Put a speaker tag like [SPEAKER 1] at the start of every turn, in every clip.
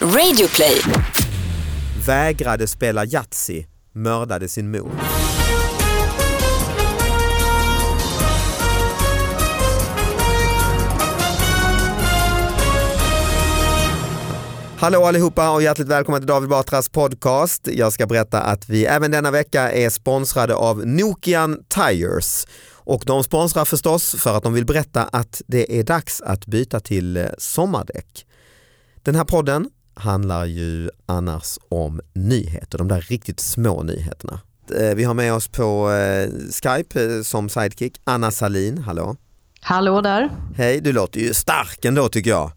[SPEAKER 1] Radioplay.
[SPEAKER 2] Vägrade spela Yatzy, mördade sin mor. Hallå allihopa och hjärtligt välkomna till David Batras podcast. Jag ska berätta att vi även denna vecka är sponsrade av Nokian Tires. Och de sponsrar förstås för att de vill berätta att det är dags att byta till eh, sommardäck. Den här podden handlar ju annars om nyheter, de där riktigt små nyheterna. Eh, Vi har med oss på eh, Skype eh, som sidekick Anna Salin, hallå.
[SPEAKER 3] Hallå där.
[SPEAKER 2] Hej, du låter ju stark ändå tycker jag.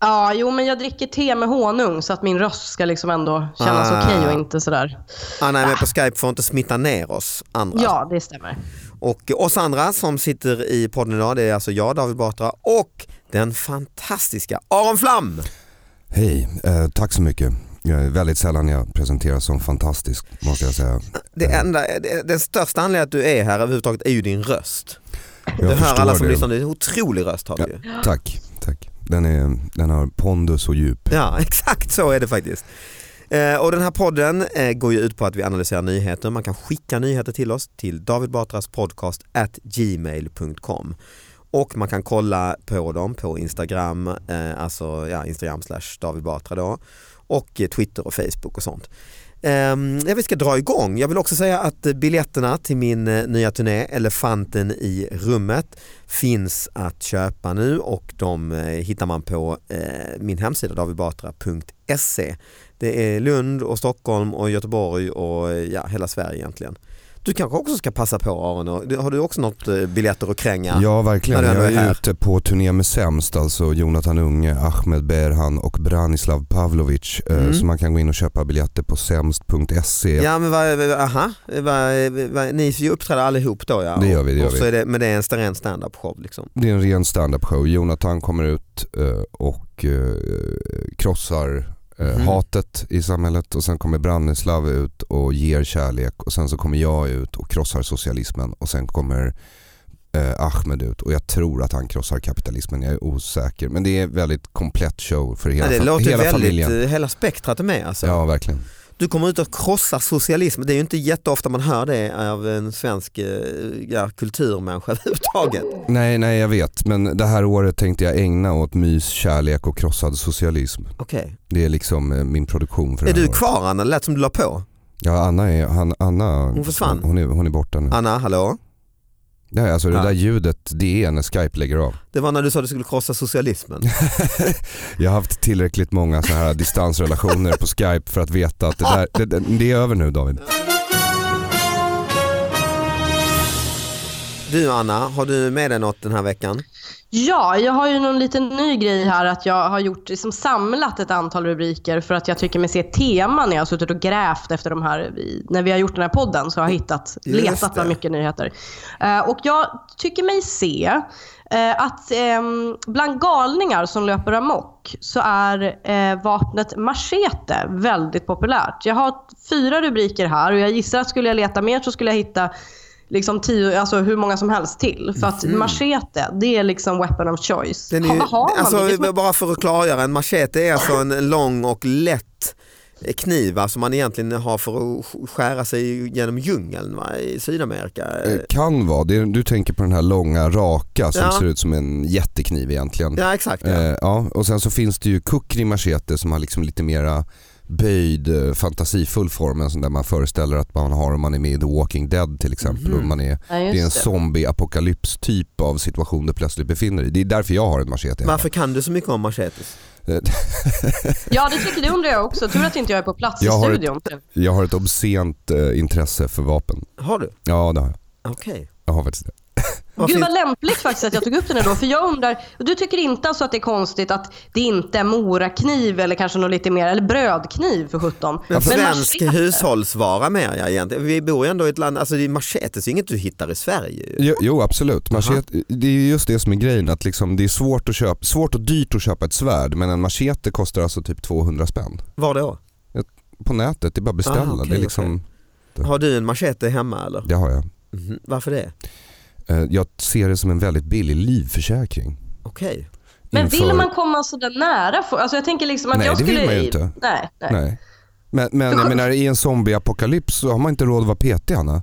[SPEAKER 3] Ja, jo men jag dricker te med honung så att min röst ska liksom ändå kännas
[SPEAKER 2] Ah.
[SPEAKER 3] okej och inte sådär.
[SPEAKER 2] Anna är med på Skype för att inte smitta ner oss andra.
[SPEAKER 3] Ja, det stämmer.
[SPEAKER 2] Och oss andra som sitter i podden idag, det är alltså jag David Batra och den fantastiska Aron Flam.
[SPEAKER 4] Hej, eh, tack så mycket. Eh, väldigt sällan jag presenteras som fantastisk måste jag säga.
[SPEAKER 2] Det
[SPEAKER 4] Eh,
[SPEAKER 2] enda, det, den största anledningen att du är här överhuvudtaget är ju din röst.
[SPEAKER 4] jag
[SPEAKER 2] du hör
[SPEAKER 4] förstår
[SPEAKER 2] alla som
[SPEAKER 4] det.
[SPEAKER 2] lyssnar, det är en otrolig röst har du ju.
[SPEAKER 4] Tack, tack. Den, är, den har pondus och djup.
[SPEAKER 2] Ja, exakt så är det faktiskt. Eh, Och den här podden eh, går ju ut på att vi analyserar nyheter. Man kan skicka nyheter till oss till davidbatraspodcast@gmail.com och man kan kolla på dem på Instagram, eh, alltså ja, Instagram slash David Batra då och eh, Twitter och Facebook och sånt. Ehm, Ja, vi ska dra igång. Jag vill också säga att eh, biljetterna till min eh, nya turné Elefanten i rummet finns att köpa nu och de eh, hittar man på eh, min hemsida davidbatra.se. Det är Lund och Stockholm och Göteborg och eh, ja, hela Sverige egentligen. Du kanske också ska passa på Aron, och- har du också något eh, biljetter att kränga?
[SPEAKER 4] Ja verkligen,
[SPEAKER 2] När du ändå
[SPEAKER 4] jag
[SPEAKER 2] är
[SPEAKER 4] är
[SPEAKER 2] här.
[SPEAKER 4] ute på turné med Sämst, alltså Jonathan Unge, Ahmed Berhan och Branislav Pavlovic. eh,
[SPEAKER 2] Mm.
[SPEAKER 4] Så man kan gå in och köpa biljetter på sämst.se.
[SPEAKER 2] Ja men vad, vad- aha, vad, vad, ni får ju uppträda allihop då ja.
[SPEAKER 4] Det gör vi, det gör
[SPEAKER 2] och så
[SPEAKER 4] vi.
[SPEAKER 2] Är det, men det är en ren stand-up show liksom.
[SPEAKER 4] Det är en ren stand-up show. Jonathan kommer ut eh, och eh, krossar eh,
[SPEAKER 2] Mhm.
[SPEAKER 4] hatet i samhället och sen kommer Branislav ut och ger kärlek och sen så kommer jag ut och krossar socialismen och sen kommer eh, Ahmed ut och jag tror att han krossar kapitalismen, jag är osäker. Men det är en väldigt komplett show för hela,
[SPEAKER 2] Ja, det
[SPEAKER 4] fa-
[SPEAKER 2] låter
[SPEAKER 4] hela
[SPEAKER 2] väldigt,
[SPEAKER 4] familjen.
[SPEAKER 2] eh, hela spektrat är med alltså.
[SPEAKER 4] Ja verkligen.
[SPEAKER 2] Du kommer ut och krossar socialism, det är ju inte jätteofta man hör det av en svensk eh, ja, kulturmänniska överhuvudtaget.
[SPEAKER 4] Nej, nej jag vet men det här året tänkte jag ägna åt mys, kärlek och krossad socialism.
[SPEAKER 2] Okej.
[SPEAKER 4] Det är liksom eh, min produktion
[SPEAKER 2] Är
[SPEAKER 4] för det här
[SPEAKER 2] du
[SPEAKER 4] året.
[SPEAKER 2] kvar Anna? Det lät som du la på.
[SPEAKER 4] Ja Anna är, han, Anna,
[SPEAKER 2] Hon försvann.
[SPEAKER 4] Hon är, hon är borta nu.
[SPEAKER 2] Anna, hallå?
[SPEAKER 4] Nej, alltså det
[SPEAKER 2] Ja.
[SPEAKER 4] där ljudet det är när Skype lägger av.
[SPEAKER 2] Det var när du sa att du skulle krossa socialismen.
[SPEAKER 4] Jag har haft tillräckligt många så här distansrelationer på Skype för att veta att det, där, det- det, det är över nu David.
[SPEAKER 2] Du Anna, har du med dig något den här veckan?
[SPEAKER 3] Ja, jag har ju någon liten ny grej här att jag har gjort, liksom samlat ett antal rubriker för att jag tycker mig se teman när jag har suttit och grävt efter de här, i- när vi har gjort den här podden så har jag hittat,
[SPEAKER 2] Just
[SPEAKER 3] letat
[SPEAKER 2] det.
[SPEAKER 3] bland mycket nyheter. Eh, och jag tycker mig se eh, att ehm, bland galningar som löper amok så är eh, vapnet machete väldigt populärt. Jag har fyra rubriker här och jag gissar att skulle jag leta mer så skulle jag hitta liksom tio, alltså hur många som helst till. För att machete, det är liksom weapon of choice.
[SPEAKER 2] Mm. Den är
[SPEAKER 3] Ha-
[SPEAKER 2] ju,
[SPEAKER 3] vad har man?
[SPEAKER 2] alltså,
[SPEAKER 3] Vilket weapon-
[SPEAKER 2] bara för att klargöra, en machete är alltså en lång och lätt eh, kniv va, som man egentligen har för att skära sig genom djungeln va, i Sydamerika.
[SPEAKER 4] Eh, Kan vara, det, är- du tänker på den här långa raka som
[SPEAKER 2] Ja.
[SPEAKER 4] ser ut som en jättekniv egentligen.
[SPEAKER 2] Ja exakt. Ja.
[SPEAKER 4] Eh, ja, och sen så finns det ju kukri machete som har liksom lite mera böjd eh, fantasifull form, en sån där man föreställer att man har om man är med i The Walking Dead till exempel. Och man är,
[SPEAKER 3] Ja, just
[SPEAKER 4] det är en
[SPEAKER 3] det.
[SPEAKER 4] zombie-apokalyps typ av situation du plötsligt befinner dig i. Det är därför jag har en machete. Eh, hemma.
[SPEAKER 2] Varför kan du så mycket om machetes?
[SPEAKER 3] Ja, det tycker det undrar jag också. Tur att inte jag är på plats
[SPEAKER 4] Jag
[SPEAKER 3] i
[SPEAKER 4] har ett-
[SPEAKER 3] studion.
[SPEAKER 4] Jag har ett obscent eh, intresse för vapen.
[SPEAKER 2] Har du?
[SPEAKER 4] Ja det har jag.
[SPEAKER 2] Okej.
[SPEAKER 4] Jag har faktiskt det.
[SPEAKER 2] Vad
[SPEAKER 3] Gud
[SPEAKER 2] finns-
[SPEAKER 3] vad lämpligt faktiskt att jag tog upp den här då. För jag undrar, du tycker inte alltså att det är konstigt att det inte är morakniv eller kanske något lite mer, eller brödkniv för sjutton.
[SPEAKER 2] Men svensk
[SPEAKER 3] machete-
[SPEAKER 2] hushållsvara mer ja, egentligen. Vi bor ju ändå i ett land, alltså det är machetes är inget du hittar i Sverige. ju.
[SPEAKER 4] Jo, jo absolut, machete, det är ju just det som är grejen. Att liksom, det är svårt, att köpa, svårt och dyrt att köpa ett svärd men en machete kostar alltså typ 200 spänn.
[SPEAKER 2] Var då?
[SPEAKER 4] På nätet, det är bara att beställa.
[SPEAKER 2] Ah, okej,
[SPEAKER 4] det, är liksom,
[SPEAKER 2] Har du en machete hemma eller?
[SPEAKER 4] det har jag.
[SPEAKER 2] Mhm. Varför det?
[SPEAKER 4] Eh, Jag ser det som en väldigt billig livförsäkring.
[SPEAKER 2] Okej.
[SPEAKER 3] Men
[SPEAKER 4] inför...
[SPEAKER 3] vill man komma så där nära? För, alltså jag tänker liksom att
[SPEAKER 4] Nej,
[SPEAKER 3] jag
[SPEAKER 4] det vill
[SPEAKER 3] skulle...
[SPEAKER 4] man ju inte.
[SPEAKER 3] Nej, nej. nej.
[SPEAKER 4] Nej. Men, men jag menar i en zombieapokalyps så har man inte råd att vara petig Anna.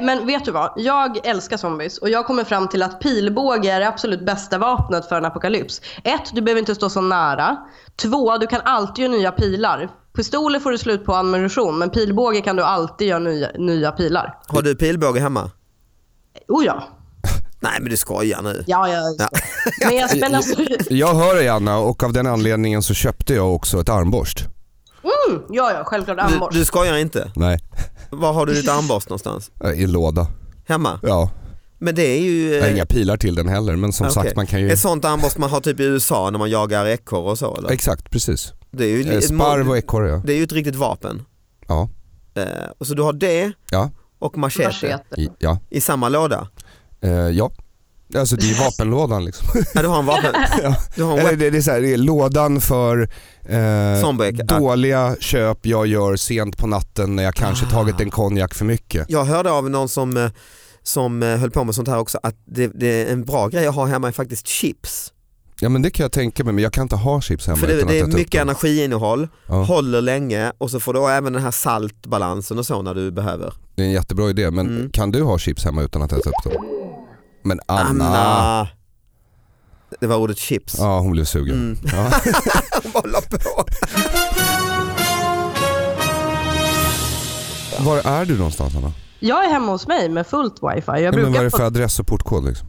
[SPEAKER 3] men vet du vad? Jag älskar zombies och jag kommer fram till att pilbåge är det absolut bästa vapnet för en apokalyps. Ett, du behöver inte stå så nära. Två, du kan alltid göra nya pilar. Pistoler får du slut på ammunition, men pilbåge kan du alltid göra nya, nya pilar.
[SPEAKER 2] Har du pilbåge hemma?
[SPEAKER 3] Oh ja.
[SPEAKER 2] Nej men du skojar nu.
[SPEAKER 3] Ja, ja, ja. Men, jag, men alltså,
[SPEAKER 4] Jag hör dig Anna och av den anledningen så köpte jag också ett armborst.
[SPEAKER 3] mm, ja, ja, självklart
[SPEAKER 2] Du,
[SPEAKER 3] armborst.
[SPEAKER 2] du skojar inte?
[SPEAKER 4] Nej,
[SPEAKER 2] Var har du ditt armborst någonstans?
[SPEAKER 4] eh, i låda.
[SPEAKER 2] Hemma?
[SPEAKER 4] Ja,
[SPEAKER 2] Men det är ju...
[SPEAKER 4] jag
[SPEAKER 2] eh,
[SPEAKER 4] har inga pilar till den heller men som
[SPEAKER 2] okej.
[SPEAKER 4] sagt man kan ju...
[SPEAKER 2] Ett sånt armborst man har typ i USA när man jagar ekorre och så eller?
[SPEAKER 4] Exakt, precis.
[SPEAKER 2] Det är ju,
[SPEAKER 4] Eh,
[SPEAKER 2] ett
[SPEAKER 4] Sparv
[SPEAKER 2] mo-
[SPEAKER 4] och ekorre ja.
[SPEAKER 2] det är ju ett riktigt vapen.
[SPEAKER 4] Ja,
[SPEAKER 2] Eh, och så du har det
[SPEAKER 4] ja,
[SPEAKER 2] och machete,
[SPEAKER 3] Machete.
[SPEAKER 4] i- ja.
[SPEAKER 2] i samma låda?
[SPEAKER 4] Eh, ja. Alltså det är ju vapenlådan liksom.
[SPEAKER 2] Ja, du har en vapen. Du har en
[SPEAKER 4] Eller
[SPEAKER 2] weapon.
[SPEAKER 4] det, det, är så här, det är lådan för eh,
[SPEAKER 2] Zombie-
[SPEAKER 4] dåliga köp jag gör sent på natten när jag kanske
[SPEAKER 2] Ah.
[SPEAKER 4] tagit en konjak för mycket.
[SPEAKER 2] Jag hörde av någon som, eh, som eh, höll på med sånt här också att det, det är en bra grej att ha hemma är faktiskt chips.
[SPEAKER 4] Ja men det kan jag tänka mig men jag kan inte ha chips hemma
[SPEAKER 2] För det,
[SPEAKER 4] utan
[SPEAKER 2] det är
[SPEAKER 4] att äta upp
[SPEAKER 2] mycket
[SPEAKER 4] dem.
[SPEAKER 2] energiinnehåll,
[SPEAKER 4] Ja.
[SPEAKER 2] håller länge och så får du även den här saltbalansen och så när du behöver.
[SPEAKER 4] Det är en jättebra idé men
[SPEAKER 2] Mm.
[SPEAKER 4] kan du ha chips hemma utan att äta upp dem? Men Anna!
[SPEAKER 2] Anna! Det var ordet chips.
[SPEAKER 4] Ah. Ja hon blev sugen.
[SPEAKER 2] Mm.
[SPEAKER 4] Ja.
[SPEAKER 2] Hon bara la på.
[SPEAKER 4] Var är du någonstans Anna?
[SPEAKER 3] Jag är hemma hos mig med fullt wifi. Jag
[SPEAKER 4] Ja, men vad är
[SPEAKER 3] brukar
[SPEAKER 4] det
[SPEAKER 3] få
[SPEAKER 4] för adress och portkod liksom?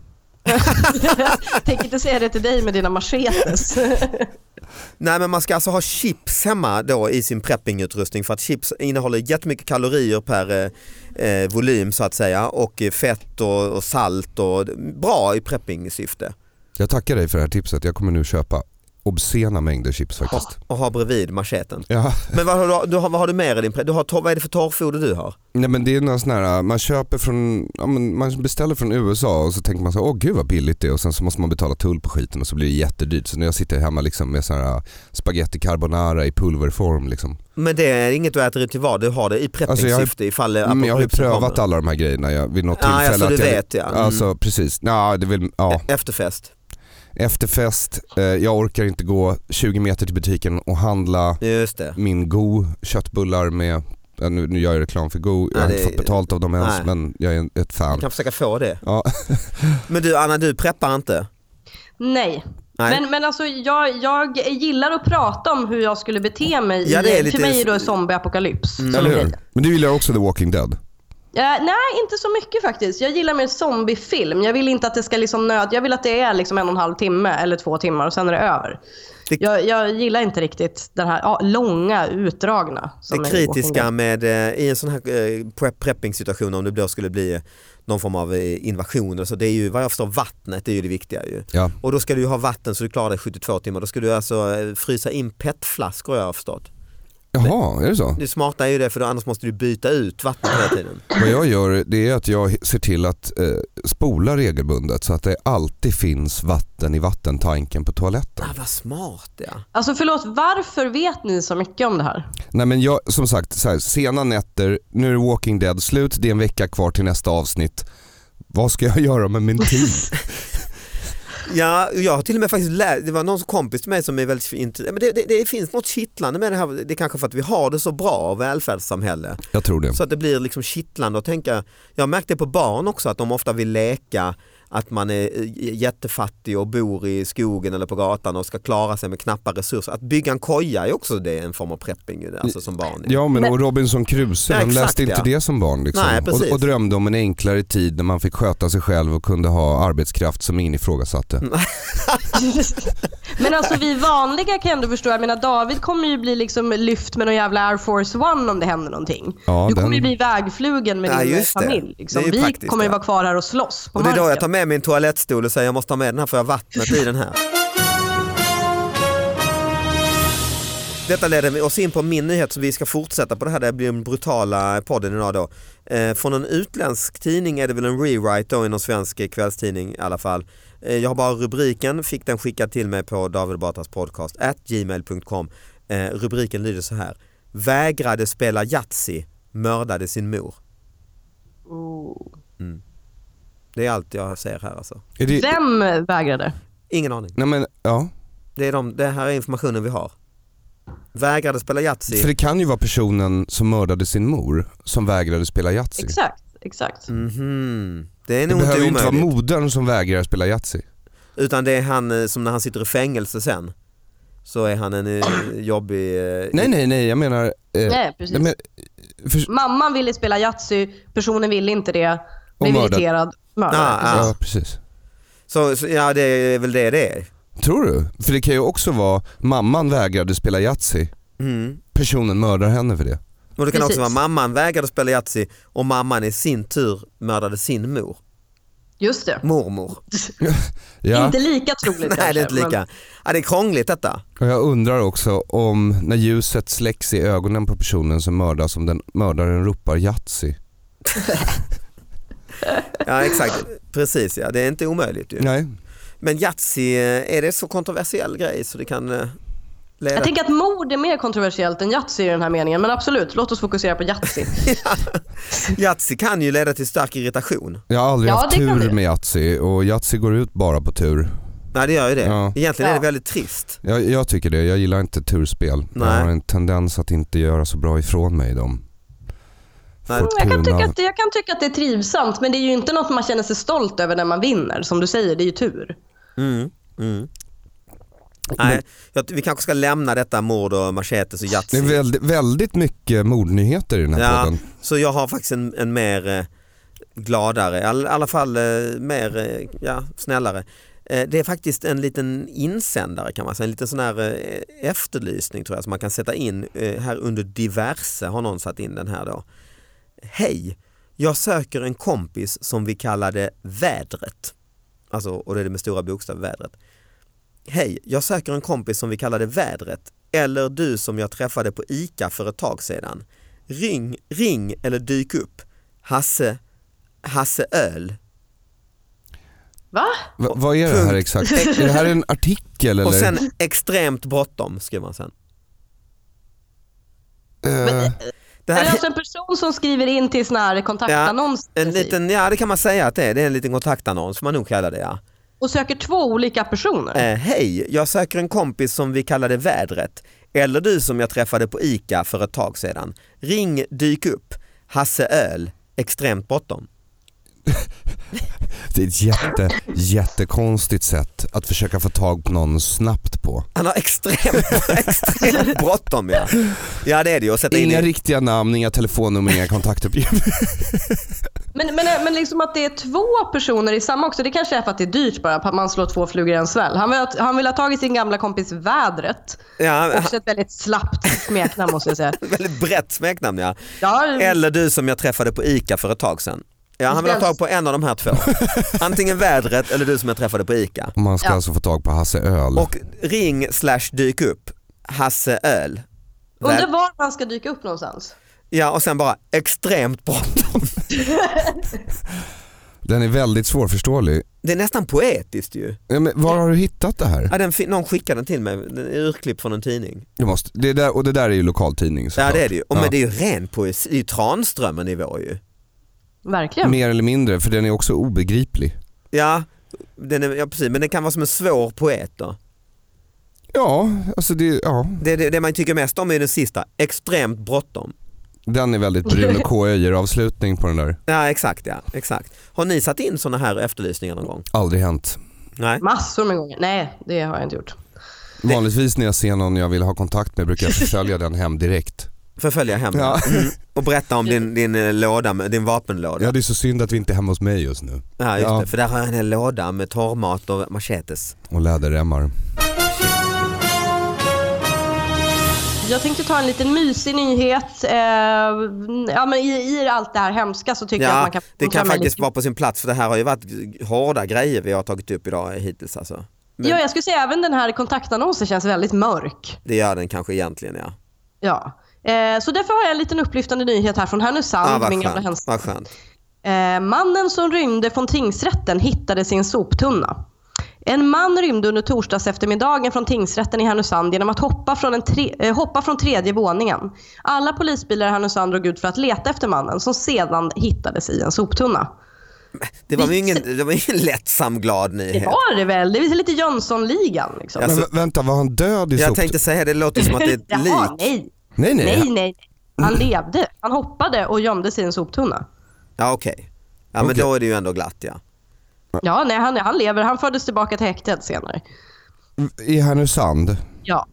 [SPEAKER 3] Tänk inte säga det till dig med dina machetes.
[SPEAKER 2] Nej men man ska alltså ha chips hemma då i sin preppingutrustning för att chips innehåller jättemycket kalorier per eh, eh, volym så att säga och eh, fett och, och salt och bra i preppingsyfte.
[SPEAKER 4] Jag tackar dig för det här tipset, jag kommer nu köpa obscena mängder chips faktiskt.
[SPEAKER 2] Och ha bredvid macheten.
[SPEAKER 4] Ja.
[SPEAKER 2] Men vad har du, du har, vad har du mer i din prepp? Du har, torr- vad är det för torrfoder du har?
[SPEAKER 4] Nej men det är någon sån här, äh, man köper från, ja, men man beställer från USA och så tänker man så här, åh gud vad billigt det är och sen så måste man betala tull på skiten och så blir det jättedyrt. Så när jag sitter hemma liksom med sån här spaghetti carbonara i pulverform liksom.
[SPEAKER 2] Men det är inget du äter till vad, du har det i preppingsyfte
[SPEAKER 4] Alltså,
[SPEAKER 2] ifall
[SPEAKER 4] Men jag har ju
[SPEAKER 2] apokalypsen
[SPEAKER 4] prövat
[SPEAKER 2] kommer.
[SPEAKER 4] alla de här grejerna jag, vid något
[SPEAKER 2] Ja,
[SPEAKER 4] tillfälle.
[SPEAKER 2] alltså,
[SPEAKER 4] att
[SPEAKER 2] du
[SPEAKER 4] jag,
[SPEAKER 2] vet, ja. Mm.
[SPEAKER 4] Alltså precis, ja, det vill, ja.
[SPEAKER 2] Efterfest.
[SPEAKER 4] efterfest, eh, jag orkar inte gå 20 meter till butiken och handla
[SPEAKER 2] Just det.
[SPEAKER 4] min Go köttbullar med, ja, nu, nu gör jag reklam för Go, jag
[SPEAKER 2] Ja,
[SPEAKER 4] har
[SPEAKER 2] det
[SPEAKER 4] inte
[SPEAKER 2] är-
[SPEAKER 4] fått betalt av dem ens
[SPEAKER 2] Nej.
[SPEAKER 4] men jag är en- ett fan.
[SPEAKER 2] Du kan försöka få det.
[SPEAKER 4] Ja.
[SPEAKER 2] Men du Anna, du preppar inte?
[SPEAKER 3] Nej.
[SPEAKER 2] Nej.
[SPEAKER 3] Men, men alltså jag, jag gillar att prata om hur jag skulle bete mig.
[SPEAKER 2] Ja,
[SPEAKER 3] i-
[SPEAKER 2] det är
[SPEAKER 3] för
[SPEAKER 2] lite- Mm.
[SPEAKER 3] mig är det zombieapokalyps. som
[SPEAKER 4] Eller hur?
[SPEAKER 3] grej.
[SPEAKER 4] Men du gillar också The Walking Dead?
[SPEAKER 3] Eh, nej, inte så mycket faktiskt. Jag gillar mer zombiefilm. Jag vill inte att det ska liksom nöd... Jag vill att det är liksom en och en halv timme eller två timmar och sen är det över.
[SPEAKER 2] Det-
[SPEAKER 3] Jag, jag gillar inte riktigt den här ja, långa, utdragna. som
[SPEAKER 2] det
[SPEAKER 3] är i Walking Dead.
[SPEAKER 2] kritiska med, eh, i en sån här eh, prep- prepping-situation om det då skulle bli någon form av eh, invasion och så, det är ju vad jag förstår vattnet är ju det viktiga ju.
[SPEAKER 4] Ja.
[SPEAKER 2] Och då ska du ju ha vatten så du klarar dig 72 timmar. Då ska du alltså eh, frysa in petflaskor jag har förstått.
[SPEAKER 4] Jaha, är det så?
[SPEAKER 2] Det smarta är ju det för då, annars måste du byta ut vattnet hela tiden.
[SPEAKER 4] Vad jag gör det är att jag ser till att eh, spola regelbundet så att det alltid finns vatten i vattentanken på toaletten.
[SPEAKER 2] Ah, vad smart ja.
[SPEAKER 3] Alltså förlåt, varför vet ni så mycket om det här?
[SPEAKER 4] Nej men jag, som sagt, så här, sena nätter, nu är Walking Dead slut, det är en vecka kvar till nästa avsnitt. Vad ska jag göra med min tid?
[SPEAKER 2] Ja, jag har till och med faktiskt läst, det var någon kompis till mig som är väldigt intresserad, men det, det, det finns något kittlande med det här, det är kanske för att vi har det så bra välfärdssamhälle.
[SPEAKER 4] Jag tror det.
[SPEAKER 2] Så att det blir liksom kittlande att tänka. Jag märkte på barn också att de ofta vill leka att man är eh, jättefattig och bor i skogen eller på gatan och ska klara sig med knappa resurser. Att bygga en koja är också det en form av prepping ju, alltså som barn.
[SPEAKER 4] Ja men och Robinson Crusoe,
[SPEAKER 2] Ja,
[SPEAKER 4] vem
[SPEAKER 2] exakt,
[SPEAKER 4] läste inte
[SPEAKER 2] ja.
[SPEAKER 4] det som barn? Liksom?
[SPEAKER 2] Nej, precis.
[SPEAKER 4] och, och drömde om en enklare tid när man fick sköta sig själv och kunde ha arbetskraft som ingen ifrågasatte.
[SPEAKER 2] Mm.
[SPEAKER 3] Men alltså vi vanliga kan ändå förstå. Jag menar David kommer ju bli liksom lyft med någon jävla Air Force One om det händer någonting.
[SPEAKER 4] Ja,
[SPEAKER 3] du kommer
[SPEAKER 4] den-
[SPEAKER 3] ju bli vägflugen med
[SPEAKER 2] Ja,
[SPEAKER 3] din
[SPEAKER 2] just det.
[SPEAKER 3] familj. Liksom.
[SPEAKER 2] Det är ju
[SPEAKER 3] Vi
[SPEAKER 2] praktiskt,
[SPEAKER 3] kommer ju
[SPEAKER 2] ja.
[SPEAKER 3] vara kvar här och slåss på
[SPEAKER 2] Och det är då jag tar
[SPEAKER 3] marken.
[SPEAKER 2] med min toalettstol och säger jag måste ta med den här för jag har vattnet i den här. Detta leder oss in på min nyhet så vi ska fortsätta på det här, det blir den brutala podden idag då. Eh, från en utländsk tidning är det väl en rewrite då i någon svensk kvällstidning i alla fall. Eh, jag har bara rubriken, fick den skickad till mig på David Batras podcast at gmail.com. Eh, rubriken lyder så här. Vägrade spela Yatzy, mördade sin mor.
[SPEAKER 3] Oh.
[SPEAKER 2] Det är allt jag ser här alltså.
[SPEAKER 4] Är det,
[SPEAKER 3] Vem vägrade?
[SPEAKER 2] Ingen aning.
[SPEAKER 4] Nej men ja,
[SPEAKER 2] Det, är de, det här är informationen vi har. Vägrade spela Yatzy.
[SPEAKER 4] för det kan ju vara personen som mördade sin mor som vägrade spela Yatzy.
[SPEAKER 3] Exakt, exakt.
[SPEAKER 4] Mm.
[SPEAKER 2] Mhm. Det är
[SPEAKER 4] Det
[SPEAKER 2] nog
[SPEAKER 4] behöver ju
[SPEAKER 2] inte
[SPEAKER 4] inte vara
[SPEAKER 2] omöjligt.
[SPEAKER 4] modern som vägrar spela Yatzy.
[SPEAKER 2] Utan det är han eh, som när han sitter i fängelse sen. Så är han en eh, jobbig... eh,
[SPEAKER 4] Nej nej nej, jag menar... eh,
[SPEAKER 3] Nej, precis.
[SPEAKER 4] nej, men, för,
[SPEAKER 3] Mamman ville spela Yatzy, personen ville inte det. Blev
[SPEAKER 4] mördad.
[SPEAKER 3] irriterad,
[SPEAKER 2] Ah,
[SPEAKER 3] mördad.
[SPEAKER 2] ah.
[SPEAKER 4] ja precis.
[SPEAKER 2] Så, så ja, det är väl det det är.
[SPEAKER 4] Tror du? För det kan ju också vara, mamman vägrade spela Yatzy,
[SPEAKER 2] Mm.
[SPEAKER 4] personen mördar henne för det.
[SPEAKER 2] Och det kan
[SPEAKER 3] Precis.
[SPEAKER 2] också vara mamman vägrade spela Yatzy och mamman i sin tur mördade sin mor.
[SPEAKER 3] Just det.
[SPEAKER 2] Mormor.
[SPEAKER 4] Ja.
[SPEAKER 3] Inte lika troligt
[SPEAKER 2] Nej det
[SPEAKER 3] kanske,
[SPEAKER 2] är inte lika.
[SPEAKER 3] men-
[SPEAKER 2] Ja, det är krångligt detta.
[SPEAKER 4] Och jag undrar också om när ljuset släcks i ögonen på personen som mördas om den mördaren ropar Yatzy.
[SPEAKER 2] Ja exakt, precis ja. Det är inte omöjligt ju.
[SPEAKER 4] Nej.
[SPEAKER 2] Men Yatzy, eh, är det så kontroversiell grej så det kan eh, leda
[SPEAKER 3] Jag tänker att mord är mer kontroversiellt än Yatzy i den här meningen, men absolut, låt oss fokusera på Yatzy.
[SPEAKER 2] Yatzy kan ju leda till stark irritation.
[SPEAKER 4] Jag har aldrig
[SPEAKER 3] Ja,
[SPEAKER 4] haft
[SPEAKER 3] det kan
[SPEAKER 4] tur
[SPEAKER 3] det.
[SPEAKER 4] med Yatzy och Yatzy går ut bara på tur.
[SPEAKER 2] Nej det gör ju det.
[SPEAKER 4] Ja.
[SPEAKER 2] Egentligen är det
[SPEAKER 3] Ja.
[SPEAKER 2] väldigt trist.
[SPEAKER 4] Jag, jag tycker det, jag gillar inte turspel.
[SPEAKER 2] Nej.
[SPEAKER 4] Jag har en tendens att inte göra så bra ifrån mig i dem.
[SPEAKER 2] Nej.
[SPEAKER 4] Får
[SPEAKER 3] Jag kan,
[SPEAKER 4] turen
[SPEAKER 3] tycka
[SPEAKER 4] av-
[SPEAKER 3] att, jag kan tycka att det är trivsamt, men det är ju inte något man känner sig stolt över när man vinner. Som du säger, det är ju tur.
[SPEAKER 2] Mm. Mm. Nej, jag, vi kanske ska lämna detta mord och machetes och
[SPEAKER 4] Det är
[SPEAKER 2] Yatzy.
[SPEAKER 4] väldigt, väldigt mycket mordnyheter i den här
[SPEAKER 2] Ja,
[SPEAKER 4] podden.
[SPEAKER 2] så jag har faktiskt en, en mer eh, gladare, i all, alla fall eh, mer eh, ja, snällare. Eh, det är faktiskt en liten insändare kan man säga, en liten sån här eh, efterlysning tror jag som man kan sätta in. Eh, här under diverse har någon satt in den här då. Hej, jag söker en kompis som vi kallade vädret. Alltså, och det är det med stora bokstäver, vädret. Hej, jag söker en kompis som vi kallade vädret. Eller du som jag träffade på ICA för ett tag sedan. Ring, ring eller dyk upp. Hasse, Hasse Öl.
[SPEAKER 3] Va?
[SPEAKER 4] Va, vad är det här
[SPEAKER 2] Punkt.
[SPEAKER 4] exakt? Är det här en artikel eller?
[SPEAKER 2] Och sen extremt bråttom skriver man sen.
[SPEAKER 4] Eh,
[SPEAKER 2] Det
[SPEAKER 3] Är det
[SPEAKER 2] här
[SPEAKER 3] alltså en person som skriver in till sån här kontaktannons typ. i
[SPEAKER 2] är en
[SPEAKER 3] princip,
[SPEAKER 2] liten, ja det kan man säga att det är, det är en liten kontaktannons får man nog kalla det ja.
[SPEAKER 3] och söker två olika personer?
[SPEAKER 2] Eh, Hej, jag söker en kompis som vi kallade vädret. Eller du som jag träffade på ICA för ett tag sedan. Ring, dyk upp. Hasse Öl, extremt bråttom.
[SPEAKER 4] det är ett jätte, jättekonstigt sätt att försöka få tag på någon snabbt på.
[SPEAKER 2] Han har extremt, extremt bråttom ja. Ja det är det ju. att sätta in
[SPEAKER 4] Inga
[SPEAKER 2] i-
[SPEAKER 4] riktiga namn, inga telefonnummer, inga kontaktuppgifter.
[SPEAKER 3] Men, men, men liksom att det är två personer i samma också, det kanske är för att det är dyrt bara, att man slår två flugor i en sväll. Han vill, ha- han vill ha tagit sin gamla kompis Vädret,
[SPEAKER 2] ja,
[SPEAKER 3] också ett väldigt slappt smeknamn måste jag säga.
[SPEAKER 2] Väldigt brett smeknamn ja.
[SPEAKER 3] Ja,
[SPEAKER 2] Eller du som jag träffade på ICA för ett tag sedan. Ja, han vill ha tag på en av de här två. Antingen vädret eller du som jag träffade på ICA.
[SPEAKER 4] Man ska
[SPEAKER 3] Ja.
[SPEAKER 4] alltså få tag på Hasse Öl.
[SPEAKER 2] Och ring slash dyk upp, Hasse Öl.
[SPEAKER 3] undrar
[SPEAKER 2] Väd-
[SPEAKER 3] var han ska dyka upp någonstans.
[SPEAKER 2] Ja och sen bara extremt bråttom.
[SPEAKER 4] Den är väldigt svårförståelig.
[SPEAKER 2] Det är nästan poetiskt ju.
[SPEAKER 4] Ja, men var har du hittat det här?
[SPEAKER 2] Ja, den, fin- någon skickade den till mig, den är urklipp från en tidning.
[SPEAKER 4] Du måste, det där, och det där är ju lokaltidning
[SPEAKER 2] Ja
[SPEAKER 4] såklart.
[SPEAKER 2] det är det ju. Och
[SPEAKER 4] Ja.
[SPEAKER 2] men det är ju ren poesi, det är ju Tranströmer nivå ju.
[SPEAKER 3] Verkligen.
[SPEAKER 4] Mer eller mindre, för den är också obegriplig.
[SPEAKER 2] Ja, den är, ja precis, men den kan vara som en svår poet då.
[SPEAKER 4] Ja, alltså det, ja.
[SPEAKER 2] Det, det, det man tycker mest om är den sista, extremt bråttom.
[SPEAKER 4] den är väldigt Bruno K. Öijer-avslutning på den där.
[SPEAKER 2] Ja exakt ja, exakt. Har ni satt in sådana här efterlysningar någon gång?
[SPEAKER 4] Aldrig hänt.
[SPEAKER 2] Nej.
[SPEAKER 3] Massor med gånger. Nej, det har jag inte gjort.
[SPEAKER 4] Vanligtvis när jag ser någon jag vill ha kontakt med brukar jag förfölja den hem direkt.
[SPEAKER 2] Förfölja hem
[SPEAKER 4] Ja.
[SPEAKER 2] mm. och berätta om din, din eh, låda, med, din vapenlåda.
[SPEAKER 4] Ja det är så synd att vi inte är hemma hos mig just nu.
[SPEAKER 2] Ja, just
[SPEAKER 4] Ja.
[SPEAKER 2] Det, för där har jag en hel låda med torrmat och machetes.
[SPEAKER 4] Och läderremmar.
[SPEAKER 3] Jag tänkte ta en liten mysig nyhet. Eh, ja, men i, I allt det här hemska så tycker jag att
[SPEAKER 2] Ja,
[SPEAKER 3] man kan...
[SPEAKER 2] det kan
[SPEAKER 3] ta med
[SPEAKER 2] faktiskt
[SPEAKER 3] lite-
[SPEAKER 2] vara på sin plats för det här har ju varit hårda grejer vi har tagit upp idag hittills alltså. Men
[SPEAKER 3] Ja, jag skulle säga även den här kontaktannonsen känns väldigt mörk.
[SPEAKER 2] det gör den kanske egentligen ja.
[SPEAKER 3] Ja. Eh, så därför har jag en liten upplyftande nyhet här från
[SPEAKER 2] Ah,
[SPEAKER 3] Härnösand. min
[SPEAKER 2] vad,
[SPEAKER 3] gamla
[SPEAKER 2] skönt.
[SPEAKER 3] hemstad.
[SPEAKER 2] vad skönt.
[SPEAKER 3] Eh, mannen som rymde från tingsrätten hittade sin soptunna. En man rymde under torsdags eftermiddagen från tingsrätten i Härnösand genom att hoppa från, en tre, eh, hoppa från tredje våningen. Alla polisbilar i Härnösand drog ut för att leta efter mannen som sedan hittades i en soptunna.
[SPEAKER 2] Det var ju ingen, det var ingen lättsam glad
[SPEAKER 3] Det
[SPEAKER 2] nyhet.
[SPEAKER 3] var det väl? Det är lite Jönssonligan liksom.
[SPEAKER 2] Ja,
[SPEAKER 4] Men
[SPEAKER 2] Alltså-
[SPEAKER 4] vä- vänta, var han död i
[SPEAKER 2] Jag
[SPEAKER 4] soptunneln?
[SPEAKER 2] tänkte säga det, låter som att det är ett
[SPEAKER 3] Jaha,
[SPEAKER 2] lik.
[SPEAKER 3] nej.
[SPEAKER 4] Nej, nej.
[SPEAKER 3] Nej, nej. Han levde. Han hoppade och gömde sig i en soptunna.
[SPEAKER 2] Ja okej. Ja men
[SPEAKER 4] Okej.
[SPEAKER 2] då är det ju ändå glatt ja.
[SPEAKER 3] Ja, nej, han, han lever. Han fördes tillbaka till häktet senare.
[SPEAKER 4] I Härnösand.
[SPEAKER 3] Ja.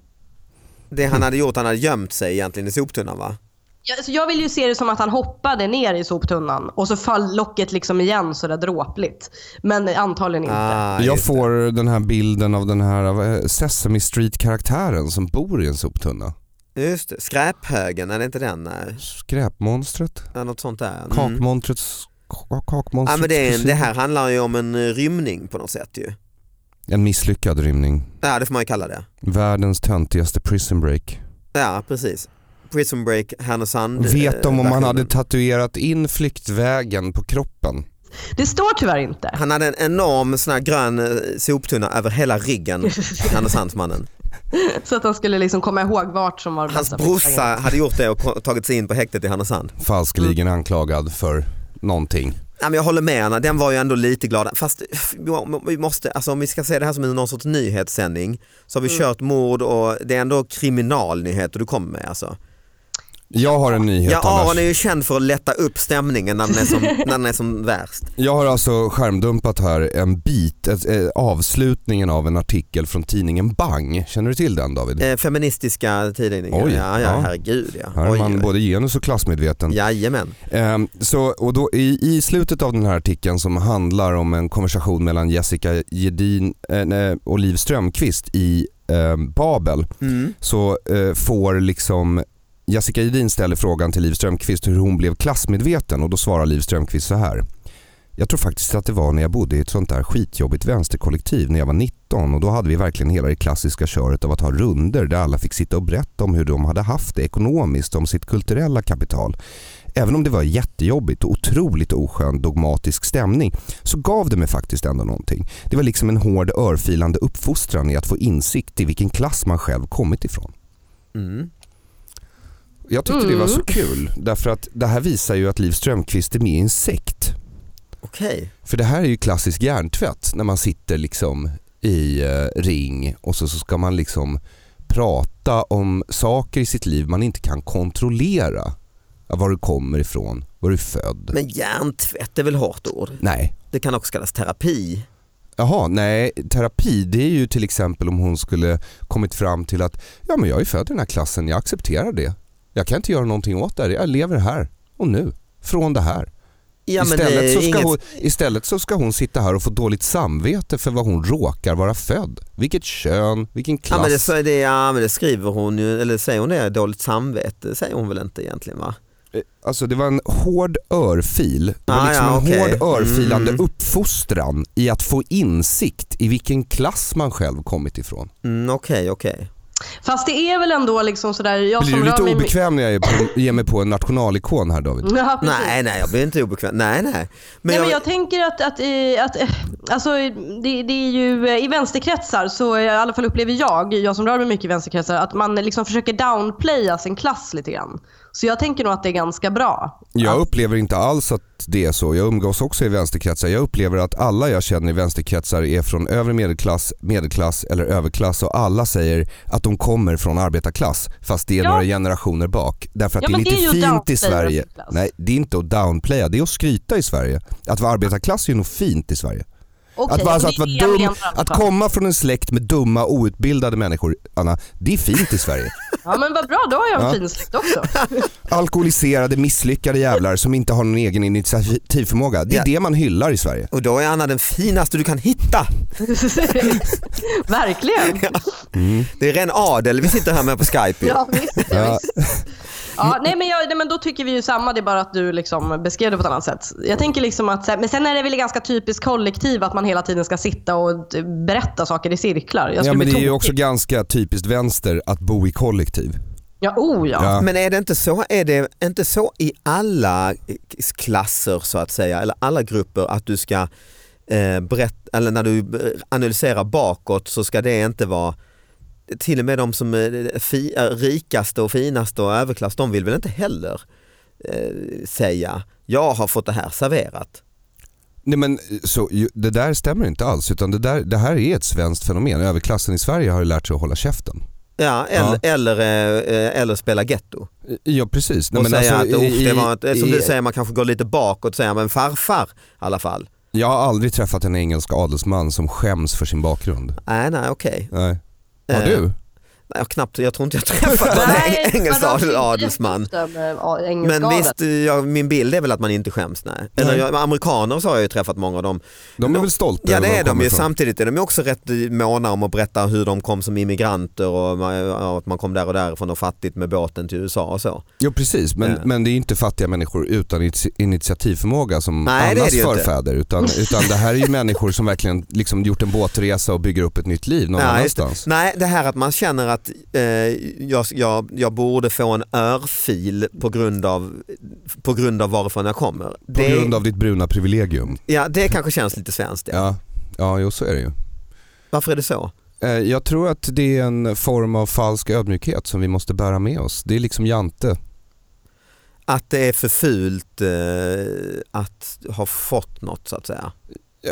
[SPEAKER 2] Det
[SPEAKER 4] Mm.
[SPEAKER 2] han hade gjort, han hade gömt sig egentligen i soptunnan va?
[SPEAKER 3] Jag, så jag vill ju se det som att han hoppade ner i soptunnan och så föll locket liksom igen sådär dråpligt. Men antagligen inte.
[SPEAKER 2] Ah,
[SPEAKER 4] jag
[SPEAKER 2] just det.
[SPEAKER 4] får den här bilden av den här vad är det, Sesame Street-karaktären som bor i en soptunna.
[SPEAKER 2] Just det. Skräphögen, är det inte den? Nej.
[SPEAKER 4] Skräpmonstret?
[SPEAKER 2] Ja, Något sånt där. Mm.
[SPEAKER 4] Kakmonstrets... Ka-
[SPEAKER 2] Ja,
[SPEAKER 4] Kakmonstrets
[SPEAKER 2] men det, är,
[SPEAKER 4] kusin.
[SPEAKER 2] det här handlar ju om en eh, rymning på något sätt ju.
[SPEAKER 4] En misslyckad rymning.
[SPEAKER 2] Ja det får man ju kalla det.
[SPEAKER 4] Världens töntigaste prison break.
[SPEAKER 2] Ja precis. Prison Break, Härnösand.
[SPEAKER 4] Vet de om
[SPEAKER 2] eh,
[SPEAKER 4] han hade
[SPEAKER 2] versionen.
[SPEAKER 4] tatuerat in flyktvägen på kroppen?
[SPEAKER 3] Det står tyvärr inte.
[SPEAKER 2] Han hade en enorm sån här grön eh, soptunna över hela ryggen, Härnösandsmannen.
[SPEAKER 3] Så att han skulle liksom komma ihåg vart som var den
[SPEAKER 2] Hans
[SPEAKER 3] bästa flyktvägen.
[SPEAKER 2] brorsa hade gjort det och ko- tagit sig in på häktet i Härnösand.
[SPEAKER 4] Falskligen
[SPEAKER 2] Mm.
[SPEAKER 4] anklagad för någonting.
[SPEAKER 2] Ja, men jag håller med Anna, den var ju ändå lite glad. Fast vi måste, alltså, om vi ska se det här som en någon sorts nyhetssändning så har vi kört mord och det är ändå kriminalnyheter du kommer med alltså.
[SPEAKER 4] Jag har en nyhet
[SPEAKER 2] Ja,
[SPEAKER 4] Anders.
[SPEAKER 2] Aron är ju känd för att lätta upp stämningen när den är som, när den är som värst.
[SPEAKER 4] Jag har alltså skärmdumpat här en bit, ett, eh, avslutningen av en artikel från tidningen Bang. Känner du till den David?
[SPEAKER 2] Eh, feministiska tidningar,
[SPEAKER 4] Oj,
[SPEAKER 2] ja, ja,
[SPEAKER 4] ja.
[SPEAKER 2] herregud ja.
[SPEAKER 4] Här är
[SPEAKER 2] Oj,
[SPEAKER 4] man
[SPEAKER 2] oj.
[SPEAKER 4] både genus och klassmedveten.
[SPEAKER 2] Jajamän.
[SPEAKER 4] Ehm, så, och då i, I slutet av den här artikeln som handlar om en konversation mellan Jessica Gedin eh, nej, och Liv Strömquist i eh, Babel
[SPEAKER 2] Mm.
[SPEAKER 4] så eh, får liksom Jessica Gedin ställer frågan till Liv Strömquist hur hon blev klassmedveten och då svarar Liv Strömquist så här. Jag tror faktiskt att det var när jag bodde i ett sånt där skitjobbigt vänsterkollektiv när jag var 19 och då hade vi verkligen hela det klassiska köret av att ha runder där alla fick sitta och berätta om hur de hade haft det ekonomiskt, om sitt kulturella kapital. Även om det var jättejobbigt och otroligt oskön dogmatisk stämning så gav det mig faktiskt ändå någonting. Det var liksom en hård örfilande uppfostran i att få insikt i vilken klass man själv kommit ifrån.
[SPEAKER 2] Mm.
[SPEAKER 4] Jag tyckte det var så kul därför att det här visar ju att Liv Strömquist är med i en sekt.
[SPEAKER 2] Okej,
[SPEAKER 4] För det här är ju klassisk hjärntvätt när man sitter liksom i eh, ring och så, så ska man liksom prata om saker i sitt liv man inte kan kontrollera. Ja, Var du kommer ifrån, var du är född.
[SPEAKER 2] men hjärntvätt är väl hårt ord?
[SPEAKER 4] Nej.
[SPEAKER 2] Det kan också kallas terapi.
[SPEAKER 4] Jaha, nej terapi det är ju till exempel om hon skulle kommit fram till att ja men jag är född i den här klassen, jag accepterar det. Jag kan inte göra någonting åt det här, jag lever här och nu, från det här.
[SPEAKER 2] Ja, men det
[SPEAKER 4] istället,
[SPEAKER 2] är
[SPEAKER 4] så ska
[SPEAKER 2] inget-
[SPEAKER 4] hon, istället så ska hon sitta här och få dåligt samvete för vad hon råkar vara född. Vilket kön, vilken klass.
[SPEAKER 2] Ja men, det, så är det, ja men det skriver hon ju, eller säger hon det, dåligt samvete säger hon väl inte egentligen va?
[SPEAKER 4] Eh, Alltså det var en hård örfil. Det var
[SPEAKER 2] Ah,
[SPEAKER 4] liksom
[SPEAKER 2] ja,
[SPEAKER 4] en
[SPEAKER 2] okej.
[SPEAKER 4] hård örfilande
[SPEAKER 2] Mm.
[SPEAKER 4] uppfostran i att få insikt i vilken klass man själv kommit ifrån.
[SPEAKER 2] Mm, Okej, okej.
[SPEAKER 3] Fast det är väl ändå liksom sådär... Jag
[SPEAKER 4] Blir
[SPEAKER 3] som
[SPEAKER 4] du lite
[SPEAKER 3] rör mig-
[SPEAKER 4] obekväm när jag är på, ger mig på en nationalikon här David?
[SPEAKER 3] Ja, precis.
[SPEAKER 2] Nej, nej jag blir inte obekväm. Nej, nej. Men,
[SPEAKER 3] Nej, men jag tänker att, att, eh, att eh, alltså, det, det är ju eh, i vänsterkretsar, så eh, i alla fall upplever jag, jag som rör mig mycket i vänsterkretsar, att man liksom försöker downplaya sin klass lite grann. Så jag tänker nog att det är ganska bra.
[SPEAKER 4] Jag upplever inte alls att det är så. Jag umgås också i vänsterkretsar. Jag upplever att alla jag känner i vänsterkretsar är från övre medelklass, medelklass eller överklass och alla säger att de kommer från arbetarklass fast det är
[SPEAKER 3] Ja.
[SPEAKER 4] några generationer bak. Därför att
[SPEAKER 3] Ja,
[SPEAKER 4] det är
[SPEAKER 3] men
[SPEAKER 4] lite
[SPEAKER 3] det är ju
[SPEAKER 4] fint i
[SPEAKER 3] downplay
[SPEAKER 4] Sverige.
[SPEAKER 3] överklass.
[SPEAKER 4] Nej, det är inte att downplaya, det är att skryta i Sverige. Att vara arbetarklass är nog fint i Sverige.
[SPEAKER 3] Okej,
[SPEAKER 4] att, vara, alltså,
[SPEAKER 3] och
[SPEAKER 4] att,
[SPEAKER 3] det är
[SPEAKER 4] vara
[SPEAKER 3] det jag
[SPEAKER 4] dum,
[SPEAKER 3] menar i alla
[SPEAKER 4] att
[SPEAKER 3] fall.
[SPEAKER 4] komma från en släkt med dumma outbildade människor, Anna, det är fint i Sverige.
[SPEAKER 3] Ja men vad bra, då har jag en
[SPEAKER 4] Ja.
[SPEAKER 3] fin släkt också.
[SPEAKER 4] Alkoholiserade, misslyckade jävlar som inte har någon egen initiativförmåga. Det är
[SPEAKER 2] Ja.
[SPEAKER 4] det man hyllar i Sverige.
[SPEAKER 2] Och då är Anna den finaste du kan hitta.
[SPEAKER 3] Verkligen.
[SPEAKER 4] Mm.
[SPEAKER 2] Det är ren adel vi sitter här med på Skype. ju.
[SPEAKER 3] Ja, visst, ja. visst. Ja, nej, men jag, nej men då tycker vi ju samma, det är bara att du liksom beskrev det på ett annat sätt. Jag tänker liksom att, så här- men sen är det väl ganska typiskt kollektiv att man hela tiden ska sitta och d- berätta saker i cirklar. Jag
[SPEAKER 4] Ja,
[SPEAKER 3] skulle
[SPEAKER 4] men
[SPEAKER 3] bli
[SPEAKER 4] det är ju
[SPEAKER 3] tokig.
[SPEAKER 4] också ganska typiskt vänster att bo i kollektiv.
[SPEAKER 3] Ja, oh ja.
[SPEAKER 4] Ja.
[SPEAKER 2] Men är det, inte så, är det inte så i alla klasser så att säga, eller alla grupper att du ska eh, berätta, eller när du eh, analyserar bakåt så ska det inte vara till och med de som är eh, fi, är rikaste och finaste och överklass, de vill väl inte heller eh, säga jag har fått det här serverat.
[SPEAKER 4] Nej men så, ju- det där stämmer inte alls. Utan det, där, det här är ett svenskt fenomen. Överklassen i Sverige har ju lärt sig att hålla käften.
[SPEAKER 2] Ja, eller, Eller, eh, eller spela getto.
[SPEAKER 4] Ja precis. Nej,
[SPEAKER 2] Och
[SPEAKER 4] men
[SPEAKER 2] säga
[SPEAKER 4] alltså,
[SPEAKER 2] att, "Uff,
[SPEAKER 4] i-
[SPEAKER 2] det var ett, som
[SPEAKER 4] i-
[SPEAKER 2] du säger, man kanske går lite bakåt och säger men farfar i alla fall.
[SPEAKER 4] Jag har aldrig träffat en engelsk adelsman som skäms för sin bakgrund.
[SPEAKER 2] Nej, nej, okej.
[SPEAKER 4] Nej. Har
[SPEAKER 2] Eh,
[SPEAKER 4] du?
[SPEAKER 2] Nej, jag, knappt, jag tror inte jag träffat någon eng- engelsk adel- adelsman.
[SPEAKER 3] eh,
[SPEAKER 2] Men visst, jag, min bild är väl att man inte skäms. Nej. Eller,
[SPEAKER 4] Nej.
[SPEAKER 2] jag, amerikaner så har jag ju träffat många av dem.
[SPEAKER 4] De är väl stolta
[SPEAKER 2] Ja
[SPEAKER 4] över
[SPEAKER 2] det
[SPEAKER 4] var
[SPEAKER 2] är de
[SPEAKER 4] kommer
[SPEAKER 2] ju.
[SPEAKER 4] ifrån.
[SPEAKER 2] Samtidigt är de ju också rätt måna om att berätta hur de kom som immigranter och ma- ja, att man kom där och därifrån och fattigt med båten till USA och så.
[SPEAKER 4] Jo precis, men,
[SPEAKER 2] Ja.
[SPEAKER 4] men det är inte fattiga människor utan initi- initiativförmåga som
[SPEAKER 2] Nej, det är
[SPEAKER 4] allas
[SPEAKER 2] det ju inte.
[SPEAKER 4] förfäder. Utan, utan det här är ju människor som verkligen liksom gjort en båtresa och bygger upp ett nytt liv någon
[SPEAKER 2] Ja, just det.
[SPEAKER 4] annanstans.
[SPEAKER 2] Nej, det här att man känner att eh, jag, jag, jag borde få en örfil på grund av, på grund av varifrån jag kommer.
[SPEAKER 4] På
[SPEAKER 2] det,
[SPEAKER 4] grund av ditt bruna privilegium.
[SPEAKER 2] ja, det kanske känns lite svenskt. Ja.
[SPEAKER 4] Ja, ja jo så är det ju.
[SPEAKER 2] Varför är det så?
[SPEAKER 4] Eh, Jag tror att det är en form av falsk ödmjukhet som vi måste bära med oss. Det är liksom Jante.
[SPEAKER 2] Att det är för fult eh, att ha fått något så att säga.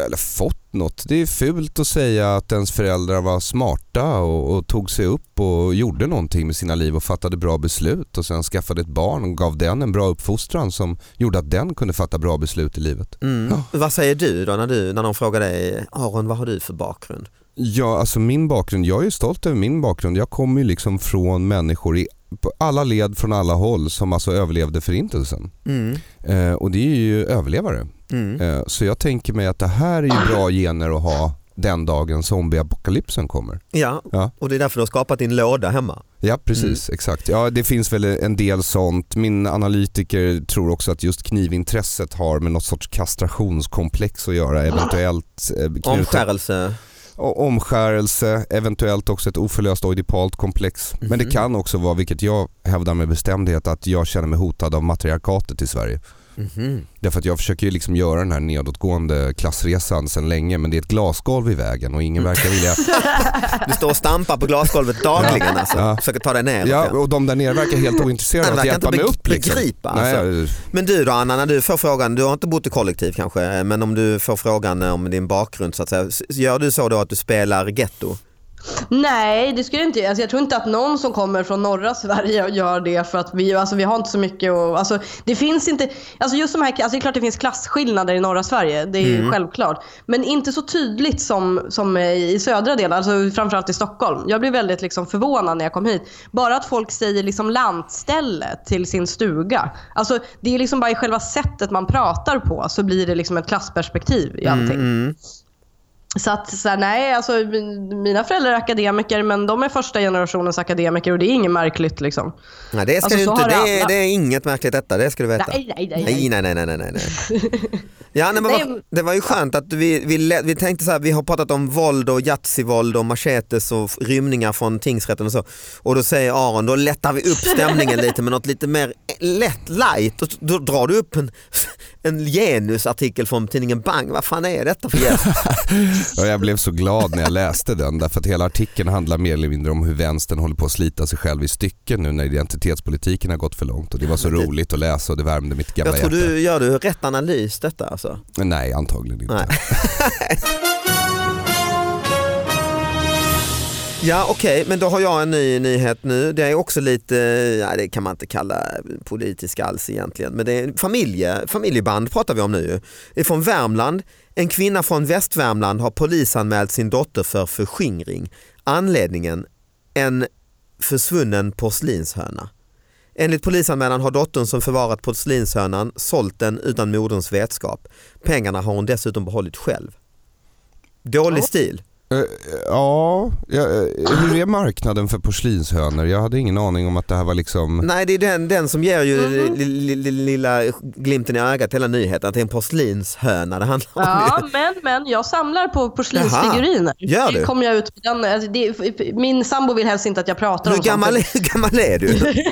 [SPEAKER 4] eller fått något. Det är fult att säga att ens föräldrar var smarta och, och tog sig upp och gjorde någonting med sina liv och fattade bra beslut och sen skaffade ett barn och gav den en bra uppfostran som gjorde att den kunde fatta bra beslut i livet.
[SPEAKER 2] Mm.
[SPEAKER 4] Ja.
[SPEAKER 2] Vad säger du då när, du, när någon frågar dig, Aron vad har du för bakgrund?
[SPEAKER 4] Ja, alltså min bakgrund, jag är ju stolt över min bakgrund. Jag kommer ju liksom från människor i på alla led från alla håll som alltså överlevde förintelsen.
[SPEAKER 2] Mm.
[SPEAKER 4] Eh, och det är ju överlevare.
[SPEAKER 2] Mm.
[SPEAKER 4] Eh, så jag tänker mig att det här är ju bra gener att ha den dagen zombieapokalypsen kommer.
[SPEAKER 2] Ja,
[SPEAKER 4] Ja.
[SPEAKER 2] och det är därför du har skapat din låda hemma.
[SPEAKER 4] Ja
[SPEAKER 2] Mm.
[SPEAKER 4] precis, exakt. Ja, det finns väl en del sånt. Min analytiker tror också att just knivintresset har med något sorts kastrationskomplex att göra. Eventuellt eh, knutet,
[SPEAKER 2] Ah. Omskärelse.
[SPEAKER 4] O- omskärelse, eventuellt också ett oförlöst oidipalt komplex. Men det
[SPEAKER 2] Mhm.
[SPEAKER 4] kan också vara, vilket jag hävdar med bestämdhet, att jag känner mig hotad av matriarkatet i Sverige.
[SPEAKER 2] Mhm.
[SPEAKER 4] Därför att jag försöker ju liksom göra den här nedåtgående klassresan sedan länge men det är ett glasgolv i vägen och
[SPEAKER 2] Mm.
[SPEAKER 4] ingen verkar vilja
[SPEAKER 2] Du står och stampar på glasgolvet dagligen alltså.
[SPEAKER 4] Ja.
[SPEAKER 2] Försöker ta dig ner.
[SPEAKER 4] Ja, och de där nere verkar helt ointresserade
[SPEAKER 2] Nej,
[SPEAKER 4] av att
[SPEAKER 2] verkar inte
[SPEAKER 4] hjälpa mig
[SPEAKER 2] beg-
[SPEAKER 4] upp. Liksom.
[SPEAKER 2] begripa, alltså.
[SPEAKER 4] Nej,
[SPEAKER 2] Men du då Anna, när du får frågan, du har inte bott i kollektiv kanske, men om du får frågan om din bakgrund så att säga, s- gör du så då att du spelar getto?
[SPEAKER 3] Nej, det skulle jag inte alltså, Jag tror inte att någon som kommer från norra Sverige gör det för att vi, alltså, vi har inte så mycket och, alltså, Det finns inte, alltså just de här, alltså, det är klart det finns klasskillnader i norra Sverige. Det är ju självklart. Men inte så tydligt som, som i södra delen, alltså framförallt i Stockholm. Jag blev väldigt liksom, förvånad när jag kom hit. Bara att folk säger liksom lantställe till sin stuga. Alltså det är liksom bara i själva sättet man pratar på så blir det liksom ett klassperspektiv i allting. Så att så här, nej, alltså, min- mina föräldrar är akademiker men de är första generationens akademiker och det är inget märkligt liksom.
[SPEAKER 2] Nej det ska
[SPEAKER 3] Alltså,
[SPEAKER 2] du
[SPEAKER 3] så
[SPEAKER 2] inte,
[SPEAKER 3] har det
[SPEAKER 2] det, är,
[SPEAKER 3] alla.
[SPEAKER 2] det är inget märkligt detta, det ska du veta.
[SPEAKER 3] Nej, nej, nej,
[SPEAKER 2] Nej, nej, nej, nej, nej, nej. Ja, nej, men
[SPEAKER 3] Nej,
[SPEAKER 2] vad,
[SPEAKER 3] men-
[SPEAKER 2] det var ju skönt att vi, vi, lä- vi tänkte så här, vi har pratat om våld och jazzivåld och machetes och f- rymningar från tingsrätten och så. Och då säger Aron, då lättar vi upp stämningen lite med något lite mer lätt light. Och då drar du upp en, en genusartikel från tidningen Bang. Vad fan är detta för jävla...
[SPEAKER 4] ja, jag blev så glad när jag läste den därför att hela artikeln handlar mer eller mindre om hur vänstern håller på att slita sig själv i stycken nu när identitetspolitiken har gått för långt och det var så roligt att läsa och det värmde mitt gamla
[SPEAKER 2] Jag tror
[SPEAKER 4] hjärta.
[SPEAKER 2] du gör du rätt analys detta alltså.
[SPEAKER 4] Nej, antagligen inte.
[SPEAKER 2] Nej. Ja okej, men då har jag en ny nyhet nu. Det är också lite, ja, det kan man inte kalla politisk alls egentligen, men det är familje, familjeband pratar vi om nu ju. Det är från Värmland. En kvinna från Västvärmland har polisanmält sin dotter för förskingring. Anledningen? En försvunnen porslinshöna. Enligt polisanmälan har dottern som förvarat porslinshönan sålt den utan moderns vetskap. Pengarna har hon dessutom behållit själv. Dålig stil.
[SPEAKER 4] Eh, Ja, jag- eh, hur är marknaden för porslinshönor? Jag hade ingen aning om att det här var liksom...
[SPEAKER 2] Nej det är den, den som ger ju
[SPEAKER 3] Mhm.
[SPEAKER 2] li- li- li- lilla glimten i ögat hela nyheten att det är en porslinshöna det handlar om.
[SPEAKER 3] Ja, men, men jag samlar på porslinsfiguriner.
[SPEAKER 2] Jaha, gör du?
[SPEAKER 3] Det Kom jag ut med den, alltså, det, min sambo vill helst inte att jag pratar
[SPEAKER 2] hur,
[SPEAKER 3] om sånt.
[SPEAKER 2] gammal, hur gammal är du?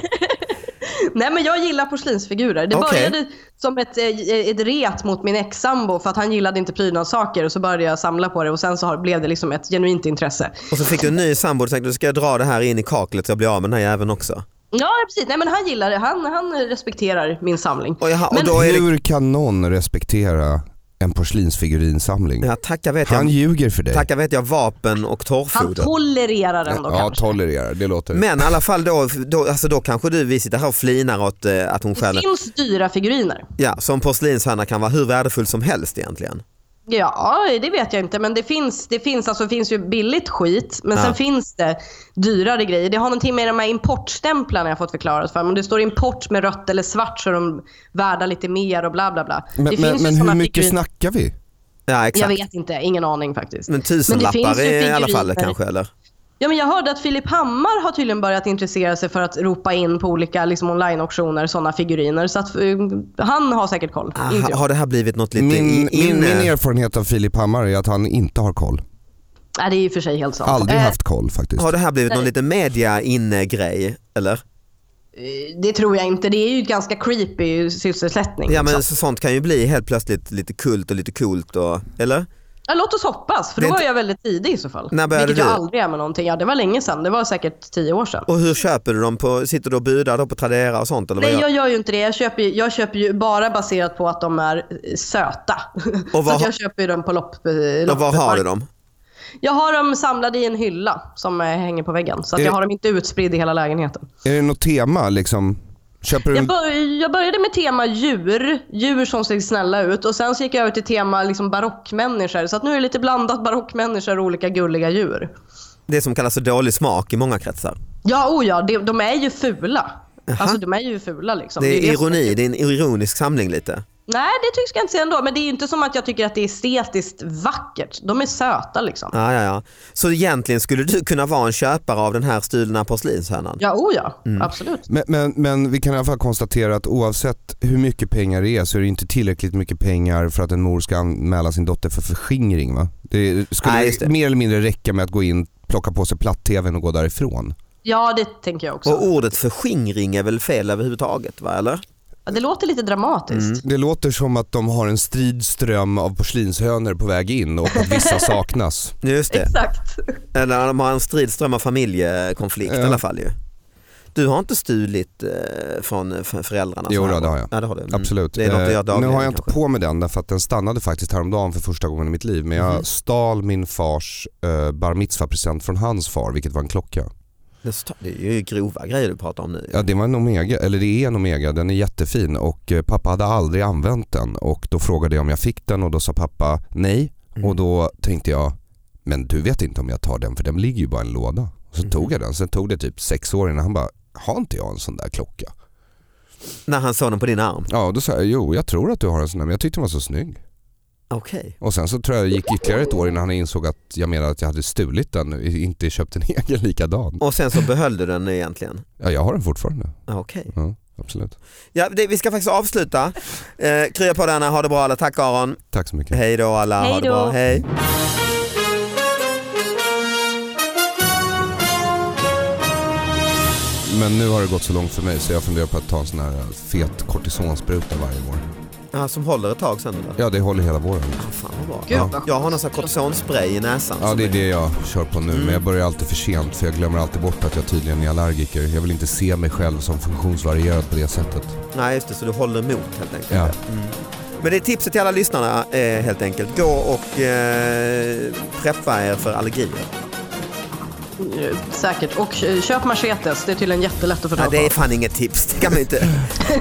[SPEAKER 3] Nej men jag gillar porslinsfigurer. Det
[SPEAKER 2] Okej.
[SPEAKER 3] började som ett, eh, ett ret mot min ex-sambo för att han gillade inte prydnadssaker och så började jag samla på det och sen så har- blev det liksom ett genuint intresse.
[SPEAKER 2] Och så fick du en ny sambo och tänkte du ska jag dra det här in i kaklet så jag blir av med den här jäveln också.
[SPEAKER 3] Ja precis, nej men han gillar det. Han, han respekterar min samling.
[SPEAKER 2] Och, jaha, och
[SPEAKER 3] Men-
[SPEAKER 2] då är det,
[SPEAKER 4] Hur kan någon respektera en porslinsfigurinsamling.
[SPEAKER 2] Ja, tacka vet
[SPEAKER 4] Han
[SPEAKER 2] jag.
[SPEAKER 4] ljuger för dig.
[SPEAKER 2] Tacka vet jag vapen och
[SPEAKER 3] Han
[SPEAKER 2] torrfoder.
[SPEAKER 3] tolererar ändå
[SPEAKER 4] ja,
[SPEAKER 3] kanske.
[SPEAKER 4] tolererar. Det låter...
[SPEAKER 2] Men i alla fall då, då, alltså då kanske du, vi sitter här och flinar åt eh, att hon
[SPEAKER 3] Det
[SPEAKER 2] stjäl
[SPEAKER 3] finns dyra figuriner.
[SPEAKER 2] Ja, som porslinshanna kan vara hur värdefull som helst egentligen.
[SPEAKER 3] Ja, det vet jag inte. Men det finns, det finns, alltså, det finns ju billigt skit. Men
[SPEAKER 2] Ja.
[SPEAKER 3] sen finns det dyrare grejer. Det har någonting med de här importstämplarna jag fått förklarat för mig. Om det står import med rött eller svart så är de värda lite mer och bla bla bla.
[SPEAKER 4] Men,
[SPEAKER 3] det
[SPEAKER 4] men,
[SPEAKER 3] finns ju
[SPEAKER 4] men hur
[SPEAKER 3] såna
[SPEAKER 4] mycket
[SPEAKER 3] figurin-
[SPEAKER 4] snackar vi?
[SPEAKER 2] Ja,
[SPEAKER 3] Jag
[SPEAKER 2] exakt.
[SPEAKER 3] vet inte, ingen aning faktiskt.
[SPEAKER 2] Men
[SPEAKER 3] Men
[SPEAKER 2] tusenlappar
[SPEAKER 3] det finns ju
[SPEAKER 2] i alla fall
[SPEAKER 3] figuriner.
[SPEAKER 2] kanske eller?
[SPEAKER 3] Ja, men jag hörde att Filip Hammar har tydligen börjat intressera sig för att ropa in på olika liksom, online-auktioner sådana figuriner. Så att, eh, han har säkert koll. inte
[SPEAKER 2] Aha,
[SPEAKER 3] jag.
[SPEAKER 2] Ah, har det här blivit något lite
[SPEAKER 4] Min,
[SPEAKER 2] in-
[SPEAKER 4] min, min
[SPEAKER 2] inne?
[SPEAKER 4] erfarenhet av Filip Hammar är att han inte har koll.
[SPEAKER 3] Nej, det är ju för sig helt sant.
[SPEAKER 4] Aldrig
[SPEAKER 3] Eh,
[SPEAKER 4] haft koll faktiskt.
[SPEAKER 2] har det här blivit någon liten media inne-grej eller?
[SPEAKER 3] eh, Det tror jag inte. Det är ju ett ganska creepy sysselsättning.
[SPEAKER 2] Ja men så,
[SPEAKER 3] liksom.
[SPEAKER 2] sånt kan ju bli helt plötsligt lite kult och lite coolt och, eller?
[SPEAKER 3] ja, låt oss hoppas, för
[SPEAKER 2] Det
[SPEAKER 3] då
[SPEAKER 2] är
[SPEAKER 3] var
[SPEAKER 2] inte-
[SPEAKER 3] jag väldigt tidig i så fall.
[SPEAKER 2] När började
[SPEAKER 3] Vilket jag
[SPEAKER 2] du?
[SPEAKER 3] aldrig är med någonting. Ja, det var länge sedan. Det var säkert tio år sedan.
[SPEAKER 2] Och hur köper du dem? På, sitter du och budar då på Tradera och sånt? Eller vad
[SPEAKER 3] Nej,
[SPEAKER 2] gör-
[SPEAKER 3] jag gör ju inte det. Jag köper ju, jag köper ju bara baserat på att de är eh, söta.
[SPEAKER 2] Och
[SPEAKER 3] så
[SPEAKER 2] vad
[SPEAKER 3] att
[SPEAKER 2] har-
[SPEAKER 3] jag köper ju dem på lopp,
[SPEAKER 2] och var har du dem?
[SPEAKER 3] Jag har dem samlade i en hylla som eh, hänger på väggen. Så att
[SPEAKER 4] Är
[SPEAKER 3] jag
[SPEAKER 4] det-
[SPEAKER 3] har dem inte utspridda i hela lägenheten.
[SPEAKER 4] Är det något tema liksom? Köper du
[SPEAKER 3] Jag,
[SPEAKER 4] en...
[SPEAKER 3] bör, jag började med tema djur. Djur som ser snälla ut. Och sen så gick jag över till tema liksom barockmänniskor. Så att nu är det lite blandat barockmänniskor och olika gulliga djur.
[SPEAKER 2] Det som kallas för dålig smak i många kretsar.
[SPEAKER 3] Ja, oh ja. De, de är ju fula. Alltså de är ju fula liksom.
[SPEAKER 2] Det
[SPEAKER 3] ju
[SPEAKER 2] är
[SPEAKER 3] det som-
[SPEAKER 2] ironi, det är en ironisk samling lite.
[SPEAKER 3] Nej, det tycks jag inte säga ändå. Men det är ju inte som att jag tycker att det är estetiskt vackert. De är söta liksom.
[SPEAKER 2] Ja, ja, ja. Så egentligen skulle du kunna vara en köpare av den här stulna porslinshörnan?
[SPEAKER 3] Ja, oh ja.
[SPEAKER 2] Mm.
[SPEAKER 3] Absolut.
[SPEAKER 4] Men, men, men vi kan i alla fall konstatera att oavsett hur mycket pengar det är så är det inte tillräckligt mycket pengar för att en mor ska anmäla sin dotter för förskingring va? Det skulle
[SPEAKER 2] Nej, just det.
[SPEAKER 4] mer eller mindre räcka med att gå in, plocka på sig platt-tvn och gå därifrån.
[SPEAKER 3] Ja, det tänker jag också.
[SPEAKER 2] Och ordet förskingring är väl fel överhuvudtaget? Va? Eller?
[SPEAKER 3] Ja, Det låter lite dramatiskt.
[SPEAKER 2] Mm,
[SPEAKER 4] Det låter som att de har en strid ström av porslinshönor på väg in och att vissa saknas.
[SPEAKER 2] Just det.
[SPEAKER 3] Exakt.
[SPEAKER 2] Eller de har en stridström av familjekonflikt i
[SPEAKER 4] Ja.
[SPEAKER 2] alla fall ju. Du har inte stulit eh, från eh, för- föräldrarna?
[SPEAKER 4] Jo,
[SPEAKER 2] så här,
[SPEAKER 4] då, det
[SPEAKER 2] va?
[SPEAKER 4] har jag.
[SPEAKER 2] Ja, det har du. Mm.
[SPEAKER 4] Absolut.
[SPEAKER 2] Det är något du
[SPEAKER 4] Eh,
[SPEAKER 2] gör dagligen,
[SPEAKER 4] nu har jag inte
[SPEAKER 2] kanske.
[SPEAKER 4] på med den därför att den stannade faktiskt häromdagen för första gången i mitt liv. Men jag
[SPEAKER 2] Mhm.
[SPEAKER 4] stal min fars eh, bar mitzva-present från hans far vilket var en klocka.
[SPEAKER 2] Det sta- Det är ju grova grejer du pratar om nu.
[SPEAKER 4] Ja, det var en Omega, eller det är en Omega, den är jättefin och eh, pappa hade aldrig använt den och då frågade jag om jag fick den och då sa pappa nej
[SPEAKER 2] Mm.
[SPEAKER 4] och då tänkte jag men du vet inte om jag tar den för den ligger ju bara i en låda. Och så
[SPEAKER 2] Mhm.
[SPEAKER 4] tog jag den, sen tog det typ sex år innan han bara har inte jag en sån där klocka?
[SPEAKER 2] När han såg den på din arm?
[SPEAKER 4] Ja, då sa jag jo jag tror att du har en sån där men jag tyckte den var så snygg.
[SPEAKER 2] Okej.
[SPEAKER 4] Och sen så tror jag det gick ytterligare ett år innan han insåg att jag menade att jag hade stulit den och inte köpt en egen likadan.
[SPEAKER 2] Och sen så behöll du den egentligen?
[SPEAKER 4] Ja, jag har den fortfarande.
[SPEAKER 2] Ah, Okej.
[SPEAKER 4] Ja, absolut.
[SPEAKER 2] Ja, det, vi ska faktiskt avsluta. Eh, krya på denna, ha det bra alla. Tack Aron.
[SPEAKER 4] Tack så mycket.
[SPEAKER 2] Hej då alla, ha
[SPEAKER 3] Hej
[SPEAKER 2] det
[SPEAKER 3] då.
[SPEAKER 2] bra. Hej.
[SPEAKER 4] Men nu har det gått så långt för mig så jag funderar på att ta en sån här eh, fet kortisonspruta varje vår.
[SPEAKER 2] Ja, som håller ett tag sen eller?
[SPEAKER 4] Ja, det håller hela våren.
[SPEAKER 2] Ah, fan vad bra.
[SPEAKER 3] Gud,
[SPEAKER 4] Ja.
[SPEAKER 3] vad
[SPEAKER 2] Jag har någon sån här kortisonspray i näsan.
[SPEAKER 4] Ja,
[SPEAKER 2] som
[SPEAKER 4] det Mm. är
[SPEAKER 2] är-
[SPEAKER 4] det jag kör på nu. Men jag börjar alltid för sent för jag glömmer alltid bort att jag tydligen är allergiker. Jag vill inte se mig själv som funktionsvarierad på det sättet.
[SPEAKER 2] Nej just det, så du håller emot helt enkelt.
[SPEAKER 4] Ja.
[SPEAKER 2] Men det är tipset till alla lyssnarna eh, helt enkelt. Gå och eh, preppa er för allergier.
[SPEAKER 3] Eh, Säkert. Och eh, köp machetes. Det är tydligen jättelätt att få
[SPEAKER 2] Nej,
[SPEAKER 3] tag på.
[SPEAKER 2] det är fan inget tips. Det kan man inte.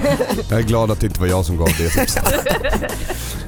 [SPEAKER 4] Jag är glad att det inte var jag som gav det tipset.